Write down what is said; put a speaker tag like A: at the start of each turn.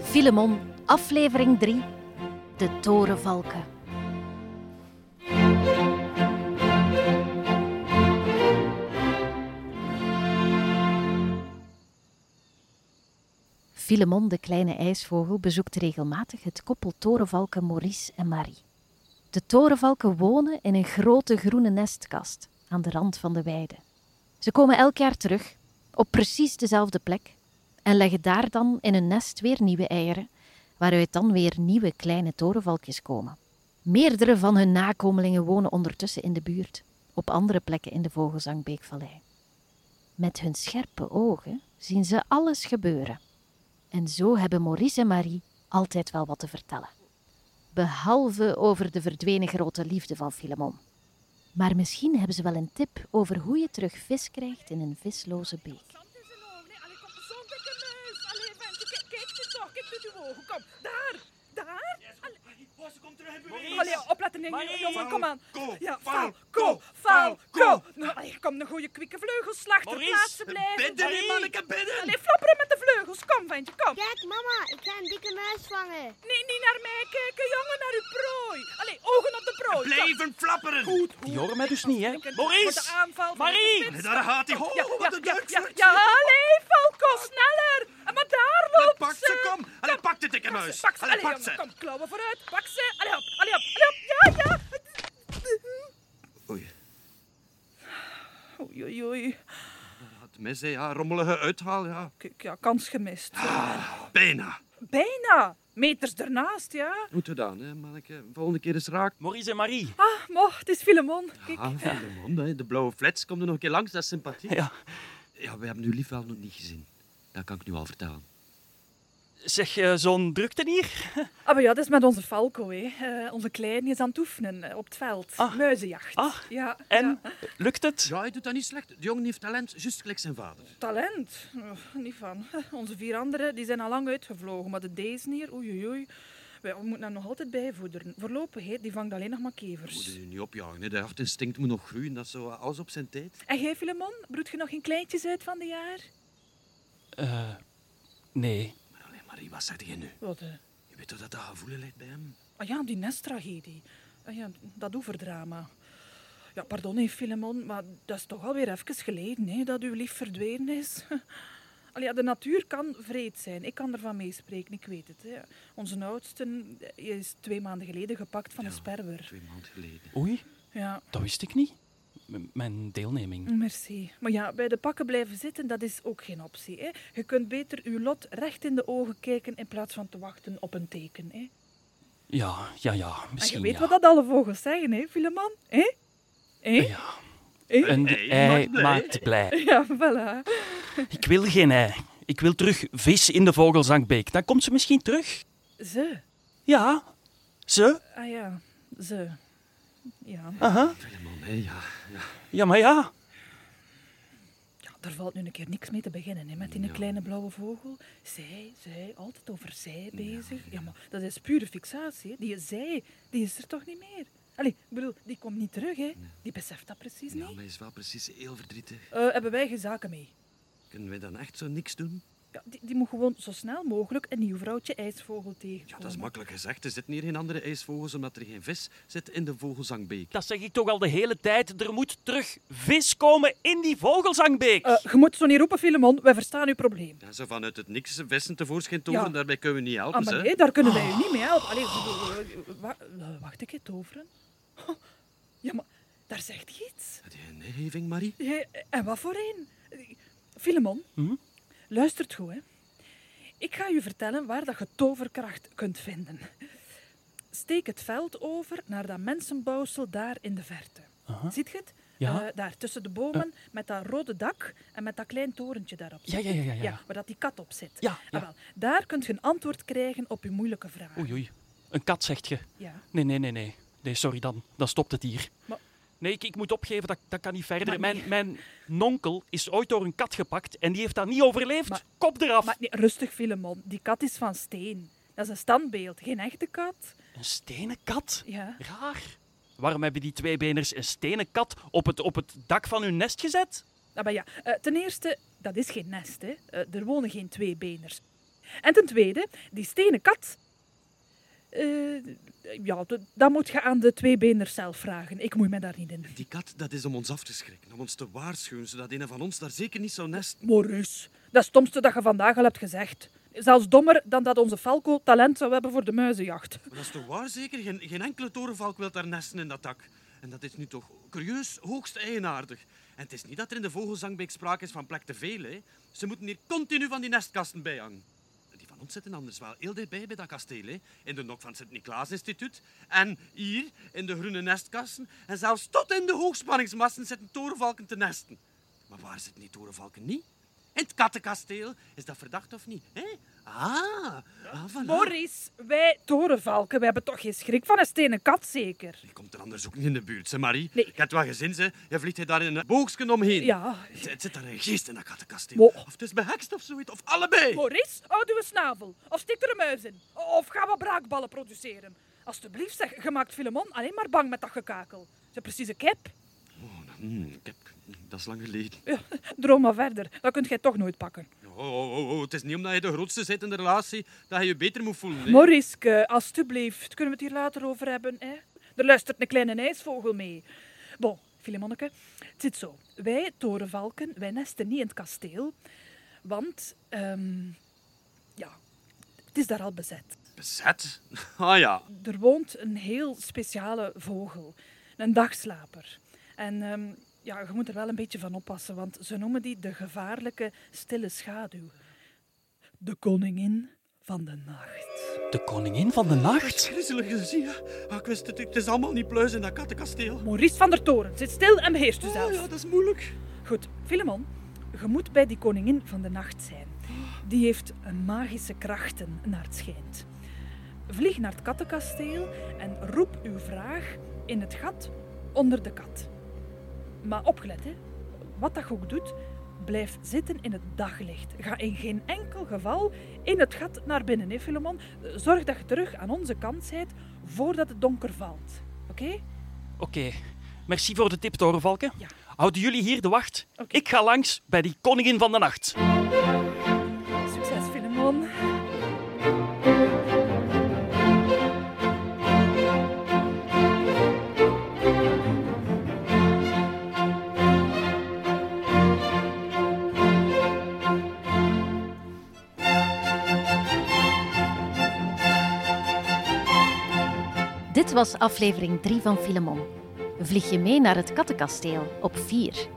A: Filemon, aflevering 3, de torenvalken. Filemon, de kleine ijsvogel, bezoekt regelmatig het koppel torenvalken Maurice en Marie. De torenvalken wonen in een grote groene nestkast aan de rand van de weide. Ze komen elk jaar terug, op precies dezelfde plek, en leggen daar dan in hun nest weer nieuwe eieren, waaruit dan weer nieuwe kleine torenvalkjes komen. Meerdere van hun nakomelingen wonen ondertussen in de buurt, op andere plekken in de Vogelzangbeekvallei. Met hun scherpe ogen zien ze alles gebeuren. En zo hebben Maurice en Marie altijd wel wat te vertellen. Behalve over de verdwenen grote liefde van Filemon. Maar misschien hebben ze wel een tip over hoe je terug vis krijgt in een visloze beek.
B: Zand in zijn ogen. Nee, allee, kom, zand in de neus. Allee, mensen, kijk, kijk nu toch. Kijk nu die ogen. Kom, daar. Daar.
C: Oh, ze komt terug,
B: Allee, opletten,
C: Marie.
B: nee, jongen, kom aan.
C: Falco,
B: Ja,
C: Falco,
B: Falco,
C: Falco.
B: Falco. Nou, allee, kom, een goede kwikke vleugelslachter.
C: Maurice,
B: Plaatsen blijven.
C: bidden,
B: Allee,
C: manneke, bidden.
B: Allee, flapperen met de vleugels. Kom, ventje, kom.
D: Kijk, mama, ik ga een dikke muis vangen.
B: Nee, niet naar mij kijken, jongen, naar uw prooi. Allee, ogen op de prooi. Kom.
C: Blijven flapperen.
B: Goed, goed.
E: Die horen mij dus niet, hè?
B: Denken
C: Maurice.
B: voor de aanval van
C: Marie.
B: de spits.
C: Daar gaat hij. Oh,
B: Ja,
C: wat
B: ja,
C: een
B: ja,
C: duik,
B: ja,
C: zeg.
B: ja, allee, Falco, sneller. Maar daar loopt
C: Pak ze, kom. Allee, pak de dikke
B: Pak ze,
C: neus.
B: Pak ze,
C: Allee,
B: allee,
C: pak
B: jongen,
C: ze.
B: Kom, klauwen vooruit. Pak ze. Allee, hop, allee, hop, allee, hop. Ja, ja.
C: Oei,
B: Oei, oei, oei.
C: had mis, hè. Ja, rommelige uithaal, ja.
B: Kijk, ja, kans gemist.
C: Bijna.
B: Bijna. Meters ernaast, ja.
C: Goed gedaan, hè, manneke. Volgende keer is raak.
E: Maurice en Marie.
B: Ah, mocht, het is Filemon. Kijk,
C: Ah, van de mond, hè. De blauwe flats komt er nog een keer langs, dat is sympathiek.
E: Ja.
C: Ja, we hebben u lief wel nog niet gezien. Dat kan ik nu al vertellen.
E: Zeg, eh, zo'n drukte hier?
B: Ah, maar ja, dat is met onze Falco, hè. Eh, onze kleine is aan het oefenen eh, op het veld.
E: Ah.
B: Muizenjacht.
E: Ah.
B: Ja,
E: En,
B: ja.
E: lukt het?
C: Ja, hij doet dat niet slecht. De jongen heeft talent, juist gelijk zijn vader.
B: Talent? Oh, niet van. Onze vier anderen die zijn al lang uitgevlogen, maar de deze hier, oei, oei, oei. Wij- We moeten daar nog altijd bijvoederen. Voorlopig, hè, die vangt alleen nog maar
C: Moet
B: kevers.
C: je niet opjagen, hè. De hartinstinct moet nog groeien. Dat is zo eh, alles op zijn tijd.
B: En jij, Filemon, broedt je nog geen kleintjes uit van de jaar?
E: Eh, nee.
C: Maar allee, Marie, wat zeg je nu?
B: Wat, eh?
C: Je weet toch dat dat gevoelen ligt bij hem?
B: Ah ja, die nesttragedie. Ah ja, dat oeverdrama. Ja, pardon, hè, Filemon, maar dat is toch alweer even geleden hè, dat uw lief verdwenen is. Allee, ja, de natuur kan vreed zijn. Ik kan ervan meespreken, ik weet het. Hè. Onze oudste eh, is twee maanden geleden gepakt van een
C: Ja.
B: sperwer.
C: Twee maanden geleden.
E: Oei,
B: Ja,
E: dat wist ik niet. M- mijn deelneming.
B: Mm. merci. Maar ja, bij de pakken blijven zitten, dat is ook geen optie. Hè. Je kunt beter uw lot recht in de ogen kijken in plaats van te wachten op een teken. Hè.
E: Ja, ja, ja.
B: En je
E: Misschien
B: weet
E: ja.
B: wat dat alle vogels zeggen, hè, Filemon? Hè? Hè?
E: Ja.
B: Hè?
E: Eh, Een
C: Ei
E: ei
C: maakt blij.
E: maakt blij.
B: Ja, voilà.
E: Ik wil geen ei. Ik wil terug vis in de vogelzangbeek. Dan komt ze misschien terug.
B: Ze.
E: Ja. Ze?
B: Ah ja, ze. Ja.
E: Aha.
C: Filemon, hè, ja.
E: Ja, maar ja.
B: ja, daar valt nu een keer niks mee te beginnen, hè, met die kleine blauwe vogel. Zij, zij, altijd over zij bezig. Ja, maar dat is pure fixatie. Hè. Die zij, die is er toch niet meer? Allee, ik bedoel, die komt niet terug, hè. Die beseft dat precies
C: Ja,
B: niet.
C: maar hij is wel precies heel verdrietig.
B: Eh, hebben wij geen zaken mee?
C: Kunnen wij dan echt zo niks doen?
B: Ja, die, die moet gewoon zo snel mogelijk een nieuw vrouwtje ijsvogel tegenkomen.
C: Ja, dat is makkelijk gezegd. Er zitten hier geen andere ijsvogels omdat er geen vis zit in de vogelzangbeek.
E: Dat zeg ik toch al de hele tijd. Er moet terug vis komen in die vogelzangbeek.
B: Eh, je moet zo niet roepen, Filemon. Wij verstaan uw probleem.
C: Ja, zo vanuit het niks vissen tevoorschijn toveren,
B: Ja.
C: daarbij kunnen we niet helpen.
B: Ah, maar
C: hè.
B: nee, daar kunnen wij u niet mee helpen. Allee, wacht, eh, wacht een keer, toveren. Ho, Ja, maar daar zegt je iets.
C: Heb je een heving, Marie?
B: Jij- En wat voor een? Filemon,
E: Hm?
B: luistert goed, hè. Ik ga u vertellen waar dat je toverkracht kunt vinden. Steek het veld over naar dat mensenbouwsel daar in de verte. Ziet je het?
E: Ja.
B: Eh, daar tussen de bomen, met dat rode dak en met dat klein torentje daarop.
E: Ja, ja, ja, ja, ja.
B: waar dat die kat op zit.
E: Ja, ja.
B: Ah, wel, daar kunt je een antwoord krijgen op uw moeilijke vraag.
E: Oei, oei. Een kat, zegt je.
B: Ja.
E: Nee, nee, nee, nee. Nee, sorry dan. Dan stopt het hier.
B: Maar-
E: Nee, ik, ik moet opgeven, dat, dat kan niet verder.
B: Maar
E: mijn,
B: nee.
E: mijn nonkel is ooit door een kat gepakt en die heeft dat niet overleefd.
B: Maar-
E: Kop eraf.
B: Maar nee, rustig, Filemon. Die kat is van steen. Dat is een standbeeld, geen echte kat.
E: Een stenen kat?
B: Ja.
E: Raar. Waarom hebben die tweebeners een stenen kat op het, op het dak van hun nest gezet?
B: Ah, maar ja, eh, ten eerste, dat is geen nest. Hè. Eh, er wonen geen tweebeners. En ten tweede, die stenen kat. Eh, ja, d- dat moet je aan de tweebeners zelf vragen. Ik moet me daar niet in.
C: Die kat, dat is om ons af te schrikken, om ons te waarschuwen, zodat een van ons daar zeker niet zou nesten.
B: Maurice, dat is het stomste dat je vandaag al hebt gezegd. Zelfs dommer dan dat onze Falco talent zou hebben voor de muizenjacht.
C: Maar dat is toch waar zeker? Geen, geen enkele torenvalk wil daar nesten in dat dak. En dat is nu toch curieus hoogst eigenaardig. En het is niet dat er in de vogelzangbeek sprake is van plek te veel. Hè. Ze moeten hier continu van die nestkasten bij hangen. En Die van ons zitten anders wel heel dichtbij bij dat kasteel. Hè. In de nok van het Sint-Niklaas-instituut. En hier, in de groene nestkasten. En zelfs tot in de hoogspanningsmasten zitten torenvalken te nesten. Maar waar zitten die torenvalken niet? In het kattenkasteel. Is dat verdacht of niet? Hè? Ah, ah voilà.
B: Maurice, wij torenvalken, wij hebben toch geen schrik van een stenen kat, zeker?
C: Je komt er anders ook niet in de buurt, hè, Marie?
B: Nee.
C: Ik had wel gezien, hè. Je vliegt je daar in een boogsken omheen.
B: Ja.
C: Het, het zit daar een geest in dat kattenkasteel.
B: Wow.
C: Of het is behekst of zoiets, of allebei.
B: Maurice, houd uw snavel. Of stik er een muis in. Of ga wat braakballen produceren. Alsjeblieft zeg, je maakt Filemon alleen maar bang met dat gekakel. Ze precies een kip.
C: Hmm, ik heb... Dat is lang geleden.
B: Ja, droom maar verder. Dat kunt jij toch nooit pakken.
C: Oh, oh, oh, oh, Het is niet omdat je de grootste zit in de relatie dat je je beter moet voelen. hè.
B: Maurice, alstublieft. Kunnen we het hier later over hebben, hè? Er luistert een kleine ijsvogel mee. Bon, Filemonneke, het zit zo. Wij torenvalken, wij nesten niet in het kasteel. Want, ehm, ja, het is daar al bezet.
C: Bezet? Ah ja.
B: Er woont een heel speciale vogel, een dagslaper. En ehm, ja, je moet er wel een beetje van oppassen, want ze noemen die de gevaarlijke stille schaduw. De koningin van de nacht.
E: De koningin van de nacht?
C: Griezelig gezien, hè. Ah, ik wist het. Het is allemaal niet pluis in dat kattenkasteel.
B: Maurice van der Toren, zit stil en beheerst u
C: Oh,
B: zelf.
C: ja, dat is moeilijk.
B: Goed, Filemon, je moet bij die koningin van de nacht zijn. Die heeft een magische krachten, naar het schijnt. Vlieg naar het kattenkasteel en roep uw vraag in het gat onder de kat. Maar opgelet, hè. wat dat je ook doet, blijf zitten in het daglicht. Ga in geen enkel geval in het gat naar binnen, hè, Filemon. Zorg dat je terug aan onze kant zijt voordat het donker valt. Oké?
E: Oké, merci voor de tip, Torenvalken.
B: Ja.
E: Houden jullie hier de wacht?
B: Oké.
E: Ik ga langs bij die koningin van de nacht.
B: Succes, Filemon.
A: Dit was aflevering 3 van Filemon. Vlieg je mee naar het kattenkasteel op 4.